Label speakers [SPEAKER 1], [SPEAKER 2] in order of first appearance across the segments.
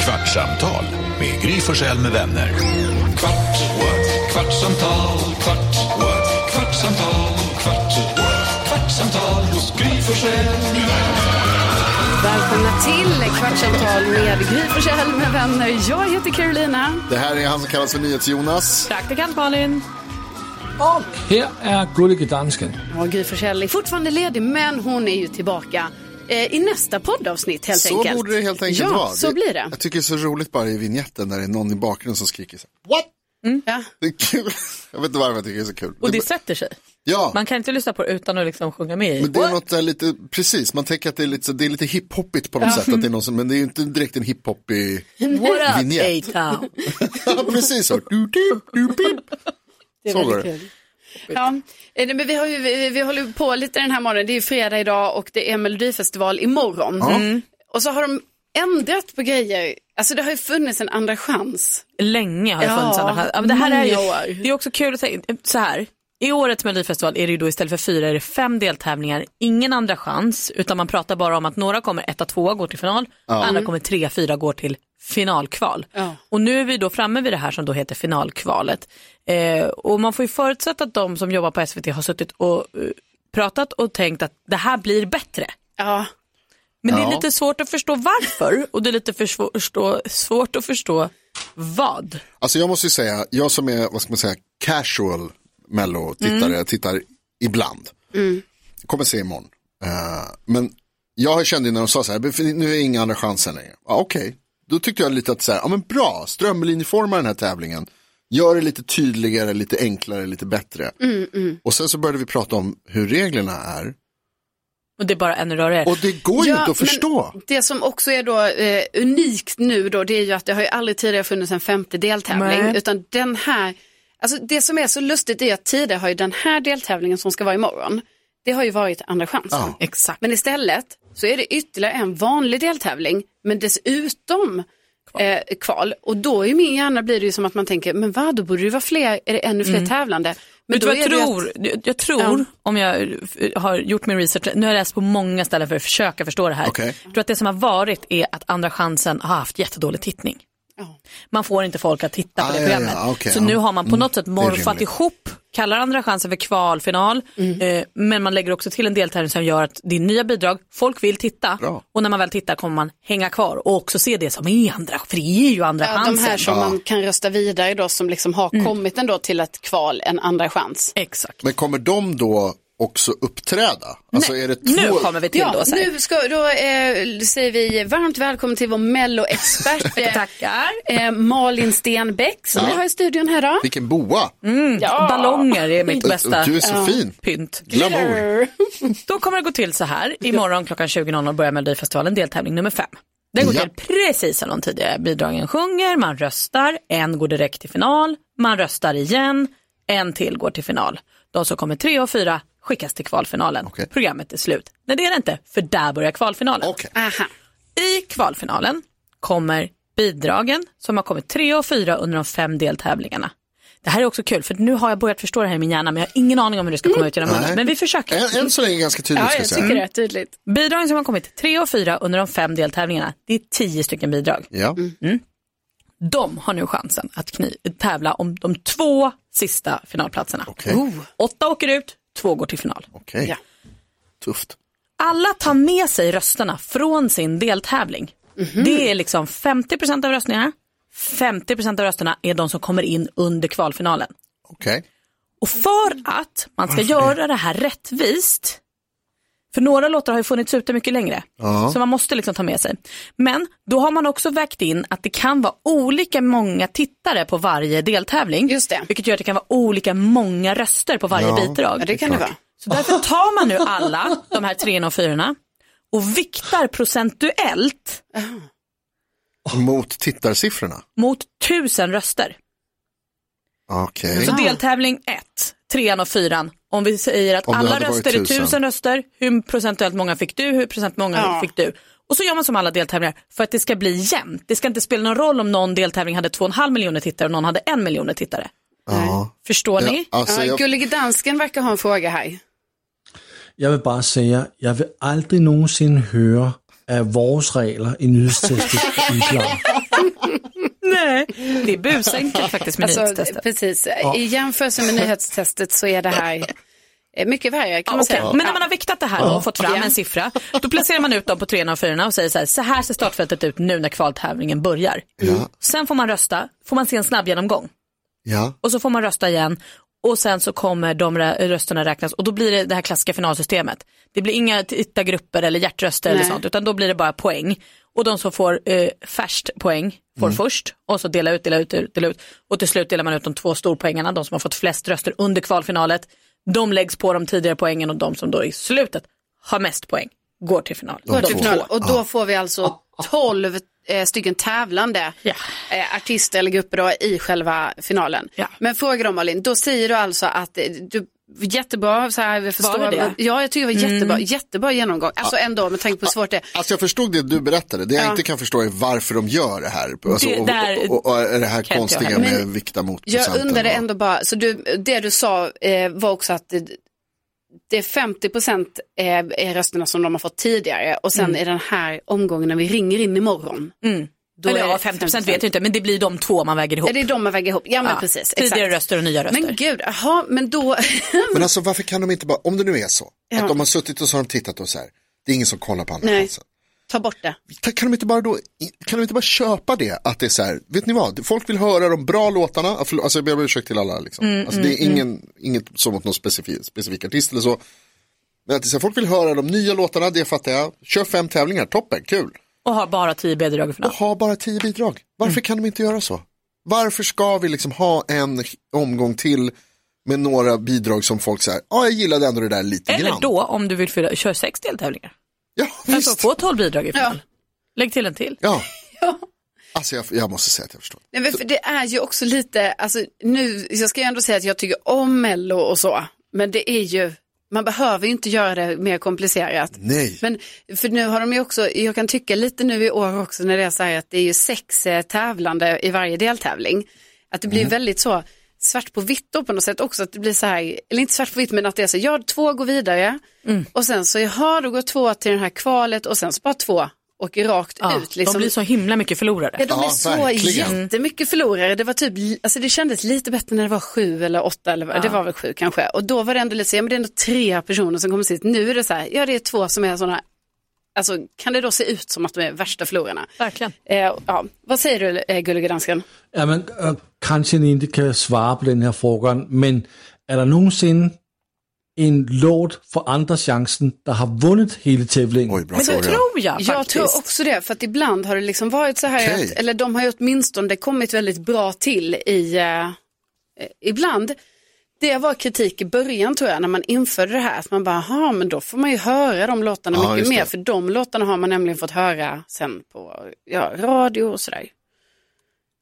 [SPEAKER 1] Kvartsamtal med Gry Forssell med vänner. Kvart, what? kvartsamtal, kvart, what? kvartsamtal, kvart, what? kvartsamtal, Gry Forssell med vänner.
[SPEAKER 2] Välkomna till Kvartsamtal med Gry Forssell med vänner. Jag heter Carolina.
[SPEAKER 3] Det här är han som kallas för NyhetsJonas.
[SPEAKER 2] Praktikant Malin.
[SPEAKER 4] Her er Gullige Dansken.
[SPEAKER 2] Och Gry Forssell är fortfarande ledig, men hon är ju tillbaka eh, i nästa poddavsnitt helt
[SPEAKER 3] Så
[SPEAKER 2] enkelt.
[SPEAKER 3] borde det helt enkelt
[SPEAKER 2] ja,
[SPEAKER 3] vara.
[SPEAKER 2] Ja, så blir det.
[SPEAKER 3] Jag tycker det är så roligt bara i vignetten när det är någon i bakgrunden som skriker så här. What?
[SPEAKER 2] Ja.
[SPEAKER 3] Det är kul. Jag vet inte varför jag tycker det är så kul.
[SPEAKER 5] Och det
[SPEAKER 3] det,
[SPEAKER 5] sätter sig.
[SPEAKER 3] ja,
[SPEAKER 5] Man kan inte lyssna på det utan att liksom sjunga med i.
[SPEAKER 3] men det är något där lite, precis, man tänker att det är lite, så- det är lite hiphoppigt på något sätt. Att det är någon som, men det är ju inte direkt en hiphoppig,
[SPEAKER 5] What up
[SPEAKER 3] Vignett.
[SPEAKER 5] A-Town?
[SPEAKER 3] Ja, precis så. Du, du, du, du.
[SPEAKER 2] Det är
[SPEAKER 3] Så
[SPEAKER 2] väldigt
[SPEAKER 3] går det.
[SPEAKER 2] kul. Ja, eh, men vi, har ju, vi, vi håller ju på lite den här morgonen. Det är ju fredag idag och det är Melodifestival imorgon. Mm. Och så har de ändrat på grejer. Alltså det har ju funnits en andra chans.
[SPEAKER 5] Länge har det
[SPEAKER 2] Ja,
[SPEAKER 5] funnits andra chanser. Ja, men det här är ju,
[SPEAKER 2] många år.
[SPEAKER 5] Det är också kul att säga, så här. I årets Melodifestival är det ju då istället för fyra är det fem deltävlingar, ingen andra chans, utan man pratar bara om att några kommer etta, tvåa, går till final, andra kommer tre, fyra, går till finalkval.
[SPEAKER 2] Ja.
[SPEAKER 5] Och nu är vi då framme vid det här som då heter finalkvalet. Eh, och man får ju förutsätta att de som jobbar på SVT har suttit och eh, pratat och tänkt att det här blir bättre.
[SPEAKER 2] Ja,
[SPEAKER 5] Men det
[SPEAKER 3] Ja.
[SPEAKER 5] är lite svårt att förstå varför och det är lite för svå- förstå, svårt att förstå vad.
[SPEAKER 3] Alltså jag måste ju säga, jag som är, vad ska man säga, casual mello-tittare,
[SPEAKER 5] Mm.
[SPEAKER 3] jag tittar ibland. Kommer se imorgon. Eh, men jag kände ju när de sa så här, "Men nu är inga andra chansen längre. Ja, Okej, då tyckte jag lite att så här, ja men bra, strömlinjeforma den här tävlingen. Gör det lite tydligare, lite enklare, lite bättre.
[SPEAKER 5] Mm,
[SPEAKER 3] Och sen så började vi prata om hur reglerna är.
[SPEAKER 5] Och det är bara en rörelse.
[SPEAKER 3] Och det går ju
[SPEAKER 2] Ja,
[SPEAKER 3] inte att
[SPEAKER 2] men-
[SPEAKER 3] förstå.
[SPEAKER 2] Det som också är då eh, unikt nu då, det är ju att det har ju aldrig tidigare funnits en femte deltävling,
[SPEAKER 5] Nej.
[SPEAKER 2] utan den här, alltså det som är så lustigt är att tidigare har ju den här deltävlingen som ska vara imorgon, det har ju varit andra chansen.
[SPEAKER 3] Ja.
[SPEAKER 5] Exakt.
[SPEAKER 2] Men istället så är det ytterligare en vanlig deltävling, men dessutom eh, kval. Och då i min hjärna blir det ju som att man tänker, men vad, då borde det vara fler, är det ännu fler tävlande? Men
[SPEAKER 5] Mm. Vet du vad jag
[SPEAKER 2] är det ju att-
[SPEAKER 5] tror? Jag, jag tror,
[SPEAKER 2] Ja.
[SPEAKER 5] om jag eh, har gjort min research, nu har jag läst på många ställen för att försöka förstå det här.
[SPEAKER 3] Okej.
[SPEAKER 5] Jag tror att det som har varit är att Andra chansen har haft jättedålig tittning.
[SPEAKER 2] Ja.
[SPEAKER 5] Man får inte folk att titta på
[SPEAKER 3] Ah,
[SPEAKER 5] det
[SPEAKER 3] ja, ja,
[SPEAKER 5] programmet.
[SPEAKER 3] okej,
[SPEAKER 5] så
[SPEAKER 3] ja.
[SPEAKER 5] nu har man på
[SPEAKER 3] Mm,
[SPEAKER 5] något sätt
[SPEAKER 3] det är
[SPEAKER 5] morfat
[SPEAKER 3] rimligt.
[SPEAKER 5] ihop, kallar Andra chansen för kvalfinal,
[SPEAKER 2] Mm.
[SPEAKER 5] eh, men man lägger också till en deltävling som gör att det är nya bidrag, folk vill titta
[SPEAKER 3] Bra.
[SPEAKER 5] och när man väl tittar kommer man hänga kvar och också se det som är andra, för det är ju Andra
[SPEAKER 2] Ja, de
[SPEAKER 5] chansen. Mm.
[SPEAKER 2] här som man kan rösta vidare då som liksom har kommit ändå till ett kval, en andra chans.
[SPEAKER 5] Exakt.
[SPEAKER 3] Men kommer de då också uppträda? Alltså är det två...
[SPEAKER 5] Nu kommer vi till
[SPEAKER 2] Ja,
[SPEAKER 5] då. Så här.
[SPEAKER 2] nu ska, då eh, säger vi varmt välkommen till vår melloexpert eh,
[SPEAKER 5] Tackar.
[SPEAKER 2] eh, Malin Stenbeck som vi har i studion här idag.
[SPEAKER 3] Vilken boa!
[SPEAKER 2] Ja.
[SPEAKER 5] Ballonger är mitt Mm, bästa
[SPEAKER 3] Du är så fin.
[SPEAKER 5] pynt.
[SPEAKER 3] Glamour.
[SPEAKER 5] Då kommer det gå till så här. Imorgon klockan 20.00 börjar Melodifestivalen deltävling nummer 5. Den går
[SPEAKER 3] Ja.
[SPEAKER 5] till precis som de tidigare. Bidragen sjunger, man röstar, en går direkt till final, man röstar igen, en till går till final. De som kommer tre och fyra skickas till kvalfinalen.
[SPEAKER 3] Okej.
[SPEAKER 5] Programmet är slut. Nej det är det inte, för där börjar kvalfinalen.
[SPEAKER 3] Okej.
[SPEAKER 2] Aha.
[SPEAKER 5] I kvalfinalen kommer bidragen som har kommit tre och fyra under de fem deltävlingarna. Det här är också kul för nu har jag börjat förstå det här i min hjärna men jag har ingen aning om hur det ska komma ut genom munnen.
[SPEAKER 3] Mm. Nej.
[SPEAKER 5] Men vi försöker.
[SPEAKER 3] Än, än så länge ganska tydligt
[SPEAKER 2] Ja,
[SPEAKER 3] ska
[SPEAKER 2] jag
[SPEAKER 3] jag säga.
[SPEAKER 2] tycker det är tydligt.
[SPEAKER 5] Bidragen som har kommit tre och fyra under de fem deltävlingarna, det är tio stycken bidrag.
[SPEAKER 3] Ja.
[SPEAKER 5] De har nu chansen att kni- tävla om de två sista finalplatserna.
[SPEAKER 3] Okej.
[SPEAKER 5] Åtta åker ut, två går till final.
[SPEAKER 3] Okej,
[SPEAKER 2] Ja.
[SPEAKER 3] tufft.
[SPEAKER 5] Alla tar med sig rösterna från sin deltävling. Det är liksom 50% av röstningarna. 50% av rösterna är de som kommer in under kvalfinalen.
[SPEAKER 3] Okej,
[SPEAKER 5] Och för
[SPEAKER 2] Mm.
[SPEAKER 5] att man ska göra det här rättvist, för några låtar har ju funnits ute mycket längre, så man måste liksom ta med sig. Men då har man också vägt in att det kan vara olika många tittare på varje deltävling,
[SPEAKER 2] Just det.
[SPEAKER 5] vilket gör att det kan vara olika många röster på varje bidrag.
[SPEAKER 2] Ja, det kan det vara.
[SPEAKER 5] Så därför tar man nu alla de här treorna och fyrorna och viktar procentuellt
[SPEAKER 3] mot tittarsiffrorna.
[SPEAKER 5] mot tusen röster.
[SPEAKER 3] Okej,
[SPEAKER 5] Så deltävling 1, trean och fyran. Om vi säger att
[SPEAKER 3] Om det
[SPEAKER 5] alla
[SPEAKER 3] hade varit
[SPEAKER 5] röster är
[SPEAKER 3] 1000.
[SPEAKER 5] tusen röster, hur procentuellt många fick du, hur procent många
[SPEAKER 2] Ja.
[SPEAKER 5] fick du? Och så gör man som alla deltävlingar för att det ska bli jämnt. Det ska inte spela någon roll om någon deltävling hade 2,5 miljoner tittare och någon hade en miljon tittare.
[SPEAKER 3] ja.
[SPEAKER 5] Förstår ni?
[SPEAKER 3] Ja, alltså,
[SPEAKER 2] Ja,
[SPEAKER 3] jag,
[SPEAKER 2] Gullige dansken verkar ha en fråga här.
[SPEAKER 4] Jeg vil bare sige, jeg vil aldrig nogensinde høre, at vores regler i nyhedstilskud er uklare.
[SPEAKER 5] Nej, det är busenkelt faktiskt med
[SPEAKER 2] Alltså,
[SPEAKER 5] nyhetstestet.
[SPEAKER 2] precis, i jämförelse med nyhetstestet så är det här eh, mycket värre kan
[SPEAKER 5] Ja,
[SPEAKER 2] man
[SPEAKER 5] okej.
[SPEAKER 2] säga.
[SPEAKER 5] Men när man har viktat det här då och fått fram
[SPEAKER 2] Ja.
[SPEAKER 5] en siffra, då placerar man ut dem på treorna och fyrorna och säger så här, så här ser startfältet ut nu när kvaltävlingen börjar. Sen får man rösta, får man se en snabb genomgång
[SPEAKER 3] Ja.
[SPEAKER 5] och så får man rösta igen och sen så kommer de rö- rösterna räknas och då blir det det här klassiska finalsystemet. Det blir inga tittargrupper eller hjärtröster eller
[SPEAKER 2] Nej.
[SPEAKER 5] sånt utan då blir det bara poäng. Och de som får eh, färst poäng får
[SPEAKER 2] Mm.
[SPEAKER 5] först och så dela ut, dela ut, dela ut, dela ut. Och till slut delar man ut de två storpoängarna, de som har fått flest röster under kvalfinalet. De läggs på de tidigare poängen och de som då i slutet har mest poäng går till final.
[SPEAKER 2] Går till
[SPEAKER 5] De
[SPEAKER 2] final.
[SPEAKER 5] två.
[SPEAKER 2] Och då får vi alltså 12 eh, stycken tävlande
[SPEAKER 5] Ja.
[SPEAKER 2] eh, artister eller grupper då, i själva finalen.
[SPEAKER 5] Ja.
[SPEAKER 2] Men fråga då Malin, då säger du alltså att eh, du, jättebra, så här, vi förstår.
[SPEAKER 5] det Mm. det?
[SPEAKER 2] men- Ja, jag tycker det var jättebra, jättebra genomgång. Alltså ändå med tanke på hur svårt det är.
[SPEAKER 3] Alltså jag förstod det du berättade. Det jag inte kan förstå är varför de gör det här. Alltså,
[SPEAKER 5] Det
[SPEAKER 3] och,
[SPEAKER 5] där-
[SPEAKER 3] och, och är det här
[SPEAKER 5] kan inte jag
[SPEAKER 3] konstiga
[SPEAKER 5] heller.
[SPEAKER 3] med vikta mot
[SPEAKER 2] Jag
[SPEAKER 3] procenten
[SPEAKER 2] undrar
[SPEAKER 3] och-
[SPEAKER 2] ändå bara, så du, det du sa eh, var också att det, det är 50 procent eh, är rösterna som de har fått tidigare och
[SPEAKER 5] Mm.
[SPEAKER 2] sen i den här omgången när vi ringer in imorgon. Mm. Då
[SPEAKER 5] Eller
[SPEAKER 2] är
[SPEAKER 5] ja,
[SPEAKER 2] det
[SPEAKER 5] 50 procent vet jag inte men det blir de två man väger ihop.
[SPEAKER 2] Ja, det är de man väger ihop. Ja, men
[SPEAKER 5] Ja,
[SPEAKER 2] precis.
[SPEAKER 5] Tidigare
[SPEAKER 2] exakt.
[SPEAKER 5] röster och nya röster.
[SPEAKER 2] Men gud, jaha, men då,
[SPEAKER 3] Men alltså varför kan de inte bara, om det nu är så,
[SPEAKER 2] Ja.
[SPEAKER 3] att de har suttit och så har de tittat och så här, det är ingen som kollar på andra
[SPEAKER 2] Nej.
[SPEAKER 3] chansen.
[SPEAKER 2] ta bort det.
[SPEAKER 3] Ta- Kan de inte bara då, kan de inte bara köpa det, att det är så här, vet ni vad, folk vill höra de bra låtarna, Ah, förlåt, alltså jag ber om ursäkt till alla liksom.
[SPEAKER 5] Mm,
[SPEAKER 3] alltså det är ingen, inget så mot någon specifik, specifik artist eller så. Men att det är så här, folk vill höra de nya låtarna, det fattar jag, kör fem tävlingar, toppen, kul.
[SPEAKER 5] Och har bara 10 bidrag i final.
[SPEAKER 3] Och ha bara tio bidrag, varför
[SPEAKER 5] Mm.
[SPEAKER 3] kan de inte göra så? Varför ska vi liksom ha en omgång till med några bidrag som folk säger, ja ah, jag gillade ändå det där lite
[SPEAKER 5] Eller
[SPEAKER 3] grann.
[SPEAKER 5] då om du vill fylla, kör sex deltävlingar.
[SPEAKER 3] Ja, visst.
[SPEAKER 5] Alltså få 12 bidrag i final.
[SPEAKER 2] Ja.
[SPEAKER 5] Lägg till en till.
[SPEAKER 3] Ja.
[SPEAKER 2] Ja.
[SPEAKER 3] Alltså jag, jag måste säga att jag förstår.
[SPEAKER 2] Nej, men för det är ju också lite, alltså nu, jag ska ju ändå säga att jag tycker om Mello och så, men det är ju, man behöver ju inte göra det mer komplicerat.
[SPEAKER 3] Nej.
[SPEAKER 2] Men för nu har de ju också, jag kan tycka lite nu i år också när det är så här att det är ju sex eh, tävlande i varje deltävling. Att det blir
[SPEAKER 5] Mm.
[SPEAKER 2] väldigt så svart på vitt då på något sätt också, att det blir så här, eller inte svart på vitt men att det är så, här, ja två går vidare
[SPEAKER 5] Mm.
[SPEAKER 2] och sen så jaha då går två till det här kvalet och sen så bara två åker rakt
[SPEAKER 5] Ja,
[SPEAKER 2] ut. Liksom.
[SPEAKER 5] De blir så himla mycket förlorare.
[SPEAKER 2] Ja, de
[SPEAKER 3] Ja,
[SPEAKER 2] är så
[SPEAKER 3] verkligen.
[SPEAKER 2] jättemycket förlorare. Det, var typ, alltså det kändes lite bättre när det var sju eller åtta, eller vad- det var väl sju kanske. Och då var det ändå lite så, ja, men det är ändå tre personer som kommer sitt. Nu är det så här, ja det är två som är sådana, alltså kan det då se ut som att de är värsta förlorarna?
[SPEAKER 5] Verkligen.
[SPEAKER 2] Eh, ja. Vad säger du, eh, gullige dansken?
[SPEAKER 4] Ja, men, øh, kanskje ni ikke kan svare på den her frågan, men er der nogensinde en låt for andre chancen, der har vundet hele tævlingen?
[SPEAKER 3] Oj, bra
[SPEAKER 5] Men det
[SPEAKER 3] fråga.
[SPEAKER 5] tror jag faktiskt.
[SPEAKER 2] Jag tror också det, för att ibland har det liksom varit så här,
[SPEAKER 3] Okej.
[SPEAKER 2] att, eller de har ju åtminstone kommit väldigt bra till i, eh, eh, ibland. Det var kritik i början tror jag, när man införde det här, att man bara, ja men då får man ju höra de låtarna
[SPEAKER 3] Ja,
[SPEAKER 2] mycket
[SPEAKER 3] just det.
[SPEAKER 2] mer, för de låtarna har man nämligen fått höra sen på ja, radio och sådär.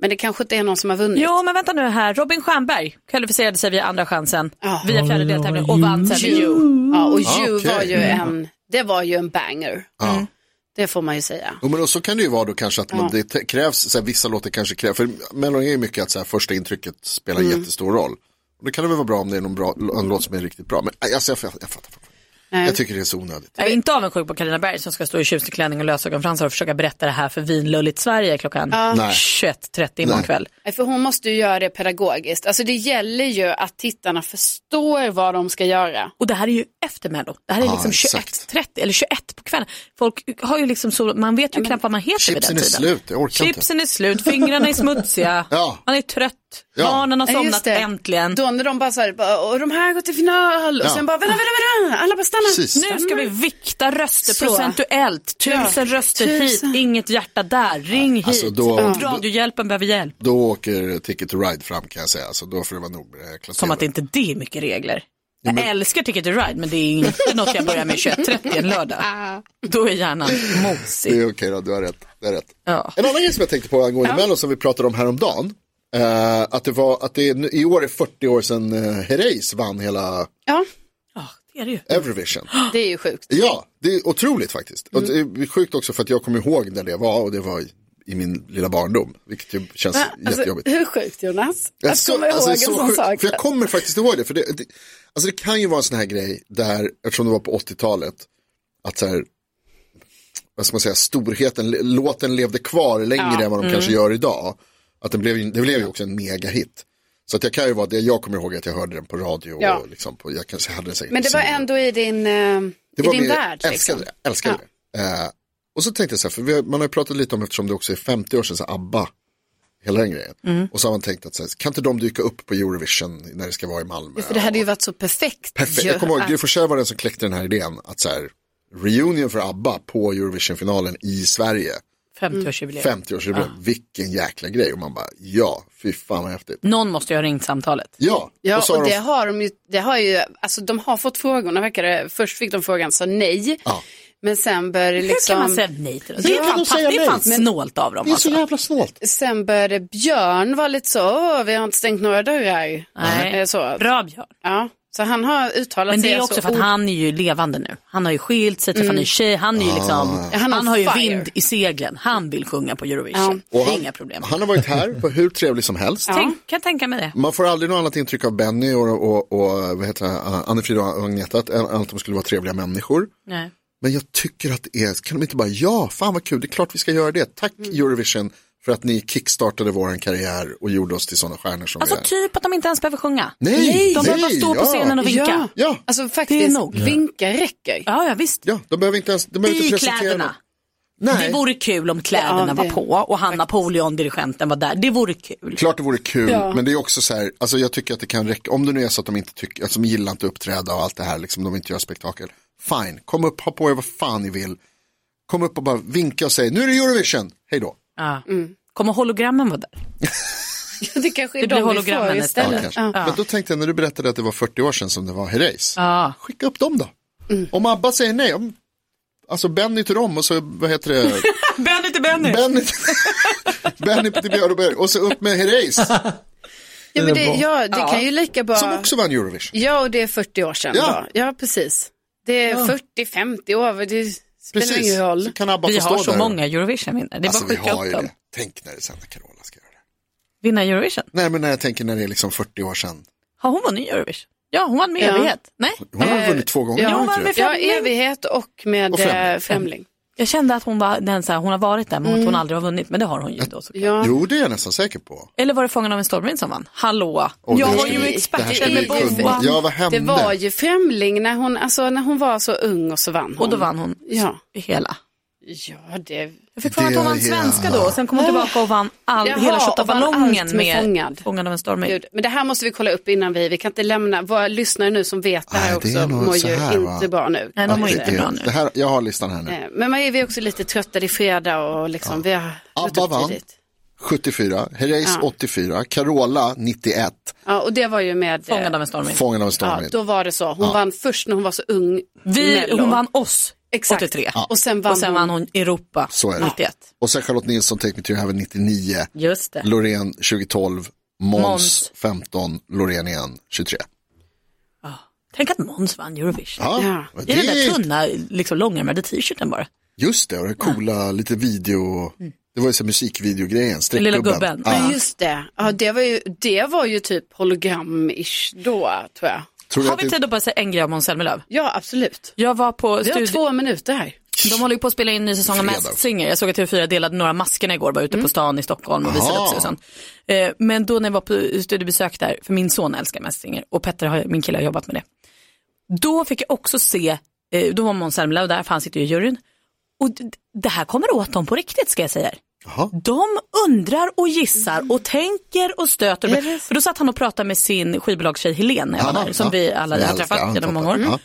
[SPEAKER 2] Men det kanske inte är någon som har vunnit.
[SPEAKER 5] Jo, men vänta nu här. Robin Stjernberg kvalificerade sig via andra chansen,
[SPEAKER 2] Ja.
[SPEAKER 5] via fjärde deltävlingen och vann sen med
[SPEAKER 2] You.
[SPEAKER 5] You.
[SPEAKER 2] Ja, och
[SPEAKER 3] Ah,
[SPEAKER 2] You
[SPEAKER 3] okej. Mm.
[SPEAKER 2] var ju en, det var ju en banger.
[SPEAKER 3] Ja.
[SPEAKER 2] Det får man ju säga.
[SPEAKER 3] Jo, men och så kan det ju vara då kanske att man,
[SPEAKER 2] Ja.
[SPEAKER 3] det te- krävs, så här, vissa låtar kanske krävs, för Mellon är ju mycket att så här, första intrycket spelar
[SPEAKER 5] Mm.
[SPEAKER 3] jättestor roll. Och då kan det väl vara bra om det är någon bra, en låt som är riktigt bra, men nej, alltså, jag, jag, jag fattar fortfarande.
[SPEAKER 2] Nej.
[SPEAKER 3] Jag tycker det är så onödigt.
[SPEAKER 5] Jag är inte avundsjuk på Carina Berg som ska stå i tjusig klänning och lösögonfransar och försöka berätta det här för vinlulligt Sverige klockan
[SPEAKER 3] Nej.
[SPEAKER 5] 21.30 imorgon
[SPEAKER 3] Nej.
[SPEAKER 5] kväll.
[SPEAKER 2] Nej, För hon måste ju göra det pedagogiskt. Alltså det gäller ju att tittarna förstår vad de ska göra.
[SPEAKER 5] Och det här är ju efter Mello. Det här är
[SPEAKER 3] Ja,
[SPEAKER 5] liksom
[SPEAKER 3] exakt.
[SPEAKER 5] 21.30 eller 21 på kvällen. Folk har ju liksom så, man vet ju knappt vad man heter vid den
[SPEAKER 3] Chipsen är
[SPEAKER 5] tiden.
[SPEAKER 3] slut, jag orkar inte.
[SPEAKER 5] Chipsen är slut, fingrarna är smutsiga,
[SPEAKER 3] Ja.
[SPEAKER 5] man är trött,
[SPEAKER 3] Ja.
[SPEAKER 5] barnen har
[SPEAKER 2] Ja, just
[SPEAKER 5] somnat
[SPEAKER 2] det.
[SPEAKER 5] äntligen.
[SPEAKER 2] Då när de bara så här, bara, och de här går till final och
[SPEAKER 3] Ja.
[SPEAKER 2] sen bara, vänta, vänta, vänta, alla bara stanna.
[SPEAKER 3] Precis.
[SPEAKER 5] Nu ska vi vikta röster
[SPEAKER 2] Så.
[SPEAKER 5] procentuellt, tusen röster
[SPEAKER 2] Tusen.
[SPEAKER 5] hit, inget hjärta där, ring
[SPEAKER 3] Alltså,
[SPEAKER 5] hit.
[SPEAKER 3] då-
[SPEAKER 5] Ja. Radiohjälpen behöver hjälp.
[SPEAKER 3] Då åker Ticket to Ride fram kan jag säga, så då får det vara nog med det här jäkla
[SPEAKER 5] Som att
[SPEAKER 3] TV.
[SPEAKER 5] inte det är mycket regler. Jag älskar Ticket to Ride men det är inte något jag börjar med 21.30 en lördag. Då är hjärnan
[SPEAKER 3] Det
[SPEAKER 5] mosig.
[SPEAKER 3] är okej då, du har rätt. Det är rätt.
[SPEAKER 5] Ja.
[SPEAKER 3] En annan grej som jag tänkte på angående Mello som vi pratade om häromdagen. Eh, att det var att det är, nu- i år är 40 år sedan eh, Herreys vann hela
[SPEAKER 2] Ja,
[SPEAKER 5] ja, det är det ju.
[SPEAKER 3] Eurovision.
[SPEAKER 2] det är ju sjukt.
[SPEAKER 3] Ja, det är otroligt faktiskt. Och
[SPEAKER 2] Mm.
[SPEAKER 3] det är sjukt också för att jag kommer ihåg när det var och det var i, i min lilla barndom. Vilket ju känns
[SPEAKER 2] Alltså,
[SPEAKER 3] jättejobbigt.
[SPEAKER 2] hur sjukt Jonas?
[SPEAKER 3] Jag
[SPEAKER 2] Att
[SPEAKER 3] så-
[SPEAKER 2] komma ihåg
[SPEAKER 3] alltså, det är
[SPEAKER 2] en
[SPEAKER 3] så
[SPEAKER 2] sån
[SPEAKER 3] sjukt,
[SPEAKER 2] sak.
[SPEAKER 3] För jag kommer faktiskt ihåg det. För det, det, alltså det kan ju vara en sån här grej där, eftersom det var på 80-talet, att så här,
[SPEAKER 2] Mm.
[SPEAKER 3] vad ska man säga, storheten, låten levde kvar längre än vad de kanske gör idag. Att den blev, ju- det blev ju också en megahit. Så att jag kan ju vara det, jag kommer ihåg att jag hörde den på radio och
[SPEAKER 2] Ja.
[SPEAKER 3] liksom på, jag kanske hade den säkert
[SPEAKER 2] Men
[SPEAKER 3] på
[SPEAKER 2] det var
[SPEAKER 3] CD.
[SPEAKER 2] ändå i din, eh,
[SPEAKER 3] Det
[SPEAKER 2] i
[SPEAKER 3] var
[SPEAKER 2] din
[SPEAKER 3] mer-
[SPEAKER 2] värld.
[SPEAKER 3] Älskade
[SPEAKER 2] liksom.
[SPEAKER 3] det, älskade det. Eh, och så tänkte jag så här, för vi har, man har ju pratat lite om eftersom det också är 50 år sedan så här, ABBA, hela den grejen.
[SPEAKER 2] Mm.
[SPEAKER 3] Och så har man tänkt att så här, kan inte de dyka upp på Eurovision när det ska vara i Malmö?
[SPEAKER 2] För det hade ju varit så perfekt.
[SPEAKER 3] Perfekt.
[SPEAKER 2] ju,
[SPEAKER 3] Jag kommer ihåg,
[SPEAKER 2] att-
[SPEAKER 3] Gry Forssell var den som kläckte den här idén att så här, reunion för ABBA på Eurovision-finalen i Sverige,
[SPEAKER 5] 50-årsjubileum.
[SPEAKER 3] Mm. 50-årsjubileum, vilken jäkla grej. Och man bara, ja, fy fan vad häftigt.
[SPEAKER 5] Någon måste ju ha ringt samtalet.
[SPEAKER 3] Ja,
[SPEAKER 2] Ja,
[SPEAKER 3] och så
[SPEAKER 2] och,
[SPEAKER 3] har
[SPEAKER 2] det
[SPEAKER 3] de,
[SPEAKER 2] har de ju, det har ju, alltså de har fått frågorna verkar det. Först fick de frågan, sa nej.
[SPEAKER 3] Ja.
[SPEAKER 2] Men sen började
[SPEAKER 5] Hur
[SPEAKER 2] liksom...
[SPEAKER 5] kan man säga nej till dem?
[SPEAKER 3] Hur
[SPEAKER 5] Det är
[SPEAKER 3] kan
[SPEAKER 5] fan,
[SPEAKER 3] de säga
[SPEAKER 5] det är
[SPEAKER 3] nej?
[SPEAKER 5] fan
[SPEAKER 3] Men-
[SPEAKER 5] snålt av dem
[SPEAKER 3] det är så
[SPEAKER 5] alltså.
[SPEAKER 3] jävla snålt.
[SPEAKER 2] Sen började Björn vara lite så, "Åh, vi har inte stängt några dörrar. Eh,
[SPEAKER 5] Nej.
[SPEAKER 2] Så,
[SPEAKER 5] Bra Björn.
[SPEAKER 2] ja. så han har uttalat
[SPEAKER 5] Men det är
[SPEAKER 2] sig
[SPEAKER 5] också
[SPEAKER 2] så
[SPEAKER 5] för att han är ju levande nu. Han har ju skilt sig, träffat en ny tjej. Han, är
[SPEAKER 3] Ah.
[SPEAKER 5] ju liksom,
[SPEAKER 2] Han
[SPEAKER 5] han,
[SPEAKER 2] är
[SPEAKER 5] har ju
[SPEAKER 2] fire.
[SPEAKER 5] vind i seglen. Han vill sjunga på Eurovision.
[SPEAKER 3] Och
[SPEAKER 5] Det
[SPEAKER 3] han-
[SPEAKER 5] är inga problem.
[SPEAKER 3] Han har varit här på hur trevlig som helst.
[SPEAKER 5] Tänk, kan jag tänka mig det.
[SPEAKER 3] Man får aldrig något annat intryck av Benny och, och, och vad heter det, Anne-Frida och Agneta, att- än att de skulle vara trevliga människor.
[SPEAKER 5] Nej.
[SPEAKER 3] Men jag tycker att det är, kan de inte bara, ja, fan vad kul, det är klart vi ska göra det. Tack
[SPEAKER 5] Mm.
[SPEAKER 3] Eurovision för att ni kickstartade våran karriär och gjorde oss till sådana stjärnor som
[SPEAKER 5] Alltså
[SPEAKER 3] vi är.
[SPEAKER 5] typ att de inte ens behöver sjunga.
[SPEAKER 3] Nej,
[SPEAKER 5] de behöver bara
[SPEAKER 3] nej,
[SPEAKER 5] stå på
[SPEAKER 3] ja.
[SPEAKER 5] scenen och vinka.
[SPEAKER 2] Ja.
[SPEAKER 5] Ja,
[SPEAKER 3] Ja,
[SPEAKER 2] Alltså faktiskt,
[SPEAKER 5] nog.
[SPEAKER 2] vinka räcker.
[SPEAKER 5] ja, visst.
[SPEAKER 3] ja, de behöver inte ens, de behöver
[SPEAKER 5] I
[SPEAKER 3] inte presentera.
[SPEAKER 5] kläderna.
[SPEAKER 3] något.
[SPEAKER 5] Det
[SPEAKER 3] Nej,
[SPEAKER 5] vore kul om kläderna
[SPEAKER 2] Ja, det-
[SPEAKER 5] var på och han Napoleon, dirigenten, var där. Det vore kul.
[SPEAKER 3] klart det vore kul,
[SPEAKER 2] Ja.
[SPEAKER 3] men det är också så här, alltså jag tycker att det kan räcka, om det nu är så att de inte tycker, alltså de gillar inte att uppträda och allt det här, liksom de inte gör spektakel. Fine, kom upp, ha på er vad fan ni vill. Kom upp och bara vinka och säg, nu är det Eurovision, hej då.
[SPEAKER 5] Ja. Kommer hologrammen vara där?
[SPEAKER 2] Det kanske är
[SPEAKER 5] Det blir
[SPEAKER 2] de vi får
[SPEAKER 5] hologrammen
[SPEAKER 3] Ja,
[SPEAKER 2] istället.
[SPEAKER 3] kanske. Men då tänkte jag när du berättade att det var 40 år sedan som det var Herreys.
[SPEAKER 5] Ja. Mm.
[SPEAKER 3] Skicka upp dem då. Om ABBA säger nej, om, alltså Benny till dem och så vad heter det?
[SPEAKER 5] Benny till Benny!
[SPEAKER 3] Benny, Benny till Björn och Benny. och så upp med Herreys
[SPEAKER 2] Ja, men det, ja, det kan ju lika bra...
[SPEAKER 3] som också vann Eurovision.
[SPEAKER 2] Ja, och det är 40 år sedan.
[SPEAKER 3] Ja.
[SPEAKER 2] Ja, ja precis. Det är 40-50 år, det spelar
[SPEAKER 3] Precis,
[SPEAKER 2] ingen roll.
[SPEAKER 3] så kan ABBA
[SPEAKER 5] Vi
[SPEAKER 3] få stå
[SPEAKER 5] har så
[SPEAKER 3] där.
[SPEAKER 5] många Eurovision-vinnare. Det är
[SPEAKER 3] Alltså
[SPEAKER 5] bara
[SPEAKER 3] vi
[SPEAKER 5] att skicka
[SPEAKER 3] har ju
[SPEAKER 5] upp dem.
[SPEAKER 3] det. Tänk när det sen när Carola ska göra det.
[SPEAKER 5] Vinna Eurovision.
[SPEAKER 3] Nej men när jag tänker när det är liksom 40 år sedan.
[SPEAKER 5] Har hon vunnit Eurovision? Ja, hon vann med
[SPEAKER 2] Ja.
[SPEAKER 5] evighet. Nej,
[SPEAKER 3] Hon har
[SPEAKER 2] Eh,
[SPEAKER 3] vunnit två gånger.
[SPEAKER 2] ja,
[SPEAKER 3] har hon
[SPEAKER 5] hon
[SPEAKER 3] inte
[SPEAKER 5] vann
[SPEAKER 3] det?
[SPEAKER 5] med
[SPEAKER 2] Ja,
[SPEAKER 5] Främling.
[SPEAKER 2] evighet och med
[SPEAKER 3] Och
[SPEAKER 2] och
[SPEAKER 3] Främling.
[SPEAKER 2] främling.
[SPEAKER 5] eh,
[SPEAKER 2] främling.
[SPEAKER 5] jag kände att hon var den så här, hon har varit där men att hon aldrig har vunnit. Men det har hon ju då såklart.
[SPEAKER 2] Mm. Ja.
[SPEAKER 3] Jo det är jag nästan säker på.
[SPEAKER 5] Eller var det Fången av en stormvind som vann? Hallå!
[SPEAKER 3] Åh, det
[SPEAKER 5] jag
[SPEAKER 3] här
[SPEAKER 5] var
[SPEAKER 3] ska
[SPEAKER 5] ju
[SPEAKER 3] vi- det här ska
[SPEAKER 5] experten
[SPEAKER 3] vi
[SPEAKER 5] med
[SPEAKER 3] kunna.
[SPEAKER 5] boa.
[SPEAKER 3] Ja vad hände?
[SPEAKER 2] Det var ju Främling när hon, alltså, när hon var så ung och så vann hon.
[SPEAKER 5] Och då vann hon
[SPEAKER 2] Ja,
[SPEAKER 5] hela.
[SPEAKER 2] ja det...
[SPEAKER 5] Jag fick för mig att hon
[SPEAKER 3] Det
[SPEAKER 5] vann
[SPEAKER 3] hela.
[SPEAKER 5] svenska då och sen kom hon tillbaka och vann all,
[SPEAKER 2] Jaha,
[SPEAKER 5] hela Tjotta
[SPEAKER 2] och vann
[SPEAKER 5] ballongen
[SPEAKER 2] allt
[SPEAKER 5] med,
[SPEAKER 2] med Fångad.
[SPEAKER 5] Fångad av en stormvind.
[SPEAKER 2] Gud. Men det här måste vi kolla upp innan vi, vi kan inte lämna, våra lyssnare nu som vet det här
[SPEAKER 3] Nej, det är
[SPEAKER 2] också
[SPEAKER 3] nog
[SPEAKER 2] mår
[SPEAKER 3] så
[SPEAKER 2] ju
[SPEAKER 3] här, va?
[SPEAKER 2] inte bra nu.
[SPEAKER 5] Nej, de mår
[SPEAKER 3] Det-
[SPEAKER 5] inte bra nu.
[SPEAKER 3] det här, jag har listan här nu.
[SPEAKER 2] Eh, Men man är vi är också lite trötta, det är fredag och liksom vi har gått
[SPEAKER 3] ABBA
[SPEAKER 2] upp
[SPEAKER 3] vann.
[SPEAKER 2] tidigt.
[SPEAKER 3] 74, Herreys 84, Carola 91,
[SPEAKER 2] Ja, och det var ju med... eh,
[SPEAKER 5] Fångad av en stormvind.
[SPEAKER 3] Fången av en
[SPEAKER 2] Ja,
[SPEAKER 3] stormvind.
[SPEAKER 2] då var det så. Hon vann först när hon var så ung.
[SPEAKER 5] Vi,
[SPEAKER 2] Mello.
[SPEAKER 5] hon vann oss
[SPEAKER 2] Exakt.
[SPEAKER 5] 83.
[SPEAKER 2] Och sen vann
[SPEAKER 5] och sen vann hon Europa
[SPEAKER 3] Så är det.
[SPEAKER 5] 91.
[SPEAKER 3] Och sen Charlotte Nilsson, Take Me To Your Heaven 99,
[SPEAKER 5] Just det.
[SPEAKER 3] Loreen 2012, Måns
[SPEAKER 5] Måns.
[SPEAKER 3] 15, Loreen igen 23.
[SPEAKER 5] Tänk att Måns vann Eurovision.
[SPEAKER 2] Ja.
[SPEAKER 3] och
[SPEAKER 5] I den där
[SPEAKER 3] det,
[SPEAKER 5] tunna, liksom långärmade t-shirten bara.
[SPEAKER 3] just det, och det coola, lite video, det var ju så här musikvideogrejen,
[SPEAKER 5] Mm. Lilla
[SPEAKER 3] streckgubben.
[SPEAKER 5] gubben.
[SPEAKER 2] Ja,
[SPEAKER 3] Ja,
[SPEAKER 2] just det. Ja, det, var ju, det var ju typ hologram-ish då, tror jag.
[SPEAKER 3] tror du
[SPEAKER 5] Har
[SPEAKER 3] att
[SPEAKER 5] vi
[SPEAKER 3] det,
[SPEAKER 5] tid att bara säga en grej om Måns Zelmerlöw?
[SPEAKER 2] Ja, absolut.
[SPEAKER 5] Jag var på
[SPEAKER 2] Vi har
[SPEAKER 5] studio...
[SPEAKER 2] två minuter här.
[SPEAKER 5] De håller ju på att spela in en ny säsong av
[SPEAKER 3] Fredag.
[SPEAKER 5] Masked Singer. Jag såg att TV4 delade några maskerna igår, var ute
[SPEAKER 2] Mm.
[SPEAKER 5] på stan i Stockholm och visade
[SPEAKER 3] Aha.
[SPEAKER 5] upp sig och sånt. Eh, Men då när jag var på studiebesök där, för min son älskar Masked Singer och Petter, har, min kille, har jobbat med det. Då fick jag också se, eh, då var Måns Zelmerlöw där, för han sitter ju i juryn. Och d- det här kommer åt dem på riktigt ska jag säga er.
[SPEAKER 3] Jaha.
[SPEAKER 5] De undrar och gissar och tänker och stöter.
[SPEAKER 2] Är det så?
[SPEAKER 5] För då satt han och pratade med sin skivbolagstjej Helene, när jag var
[SPEAKER 3] Ja,
[SPEAKER 5] där, som
[SPEAKER 3] ja.
[SPEAKER 5] vi alla
[SPEAKER 3] Jag
[SPEAKER 5] har
[SPEAKER 3] älskar,
[SPEAKER 5] träffat genom
[SPEAKER 3] toppen.
[SPEAKER 5] många år.
[SPEAKER 2] Mm.
[SPEAKER 3] Ja.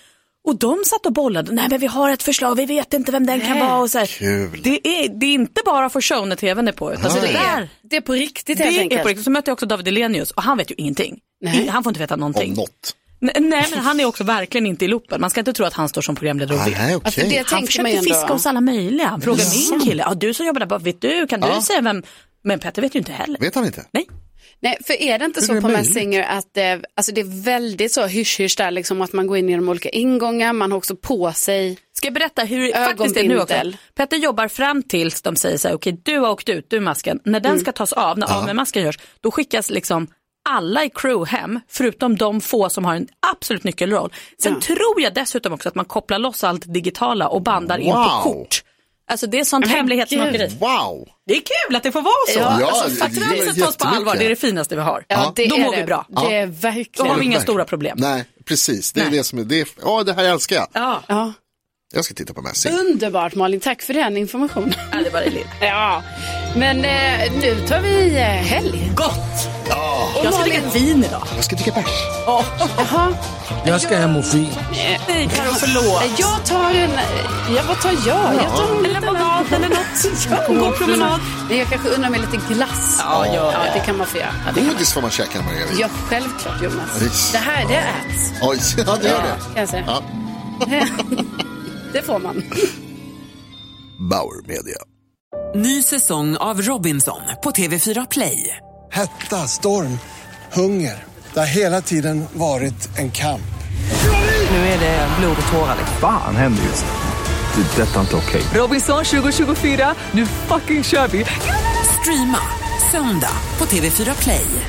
[SPEAKER 5] Och de satt och bollade, nej men vi har ett förslag, vi vet inte vem den kan vara. Och så här.
[SPEAKER 3] Kul.
[SPEAKER 5] Det, är, det är inte bara för show när tvn är på, utan
[SPEAKER 3] Nej.
[SPEAKER 5] det, där,
[SPEAKER 2] Det är på riktigt helt
[SPEAKER 5] det
[SPEAKER 2] enkelt.
[SPEAKER 5] är på riktigt. Så mötte jag också David Elenius och han vet ju ingenting.
[SPEAKER 2] Nej.
[SPEAKER 5] I- Han får inte veta
[SPEAKER 3] om
[SPEAKER 5] någonting.
[SPEAKER 3] något?
[SPEAKER 5] Nej, nej men han är också verkligen inte i loopen. Man ska inte tro att han står som programledare och
[SPEAKER 3] Ah,
[SPEAKER 5] vet.
[SPEAKER 3] nej,
[SPEAKER 2] Alltså,
[SPEAKER 3] okej.
[SPEAKER 2] det
[SPEAKER 5] Han
[SPEAKER 2] tänker man ju
[SPEAKER 5] försökte
[SPEAKER 2] ändå.
[SPEAKER 5] fiska hos alla möjliga. Han frågade min kille, ja, du som jobbar där, bara, vet du, kan du
[SPEAKER 3] Ja.
[SPEAKER 5] säga vem? Men Petter vet ju inte heller.
[SPEAKER 3] Vet han inte?
[SPEAKER 5] Nej.
[SPEAKER 2] Nej, för är det inte
[SPEAKER 3] Hur
[SPEAKER 2] så
[SPEAKER 3] är det
[SPEAKER 2] på Masked
[SPEAKER 3] möjligt?
[SPEAKER 2] Singer att eh, alltså det är väldigt så hysch-hysch där, liksom att man går in genom olika ingångar, man har också på sig.
[SPEAKER 5] Ska jag berätta hur det faktiskt är nu också?
[SPEAKER 2] Ögonbindel.
[SPEAKER 5] Petter jobbar fram tills de säger så här, okej du har åkt ut, du är masken. När den
[SPEAKER 2] Mm.
[SPEAKER 5] ska tas av, när av med masken görs, då skickas liksom alla i crew hem, förutom de få som har en absolut nyckelroll. Sen tror jag dessutom också att man kopplar loss allt digitala och bandar in på
[SPEAKER 3] Wow.
[SPEAKER 5] kort. Alltså det är sånt
[SPEAKER 2] Men
[SPEAKER 5] hemlighetsmakeri.
[SPEAKER 3] Wow!
[SPEAKER 5] Det är kul att det får vara så.
[SPEAKER 2] Ja,
[SPEAKER 5] alltså,
[SPEAKER 3] det-
[SPEAKER 5] fakturahuset tas på
[SPEAKER 3] jättemycket.
[SPEAKER 5] allvar, det är det finaste vi har.
[SPEAKER 2] Ja, det
[SPEAKER 5] Då
[SPEAKER 2] är
[SPEAKER 5] mår
[SPEAKER 2] det.
[SPEAKER 5] vi bra.
[SPEAKER 2] Det är
[SPEAKER 5] Då har vi
[SPEAKER 2] verkligen.
[SPEAKER 5] inga
[SPEAKER 3] verkligen.
[SPEAKER 5] stora problem.
[SPEAKER 3] Nej, precis. Det är
[SPEAKER 5] Nej.
[SPEAKER 3] det som är, det är, ja det här älskar jag.
[SPEAKER 5] Ja,
[SPEAKER 2] Ja.
[SPEAKER 3] Jag ska titta på Messi.
[SPEAKER 2] Underbart Malin, tack för den informationen.
[SPEAKER 5] Ja, det var det lilla.
[SPEAKER 2] Ja, men eh, nu tar vi eh, helg.
[SPEAKER 5] Gott! Jag ska dricka vin idag.
[SPEAKER 3] Jag ska dricka bärs.
[SPEAKER 2] Jaha.
[SPEAKER 4] Jag ska have morfin.
[SPEAKER 5] Nej, Karo, förlåt.
[SPEAKER 2] Eh, Jag tar en, ja vad tar jag? Jag tar en lemonad eller något. Jag går promenad. Men jag kanske undrar med lite glass.
[SPEAKER 5] Ja, gör det.
[SPEAKER 2] det kan man få göra.
[SPEAKER 3] Godis får man käka när man är gravid.
[SPEAKER 2] Ja, självklart Jonas.
[SPEAKER 3] Visst.
[SPEAKER 2] Det här, det äts.
[SPEAKER 3] Oj, ja det gör det.
[SPEAKER 2] Kan jag säga.
[SPEAKER 3] Ja.
[SPEAKER 2] Det får man.
[SPEAKER 3] Bauer Media.
[SPEAKER 6] Ny säsong av Robinson på TV4 Play.
[SPEAKER 7] Hetta, storm, hunger. Det har hela tiden varit en kamp.
[SPEAKER 6] Nu är det blod och tårar. liksom.
[SPEAKER 8] Fan händer just nu. Det. är Detta är inte okej.
[SPEAKER 6] Robinson 2024, nu fucking kör vi! Streama söndag på TV4 Play.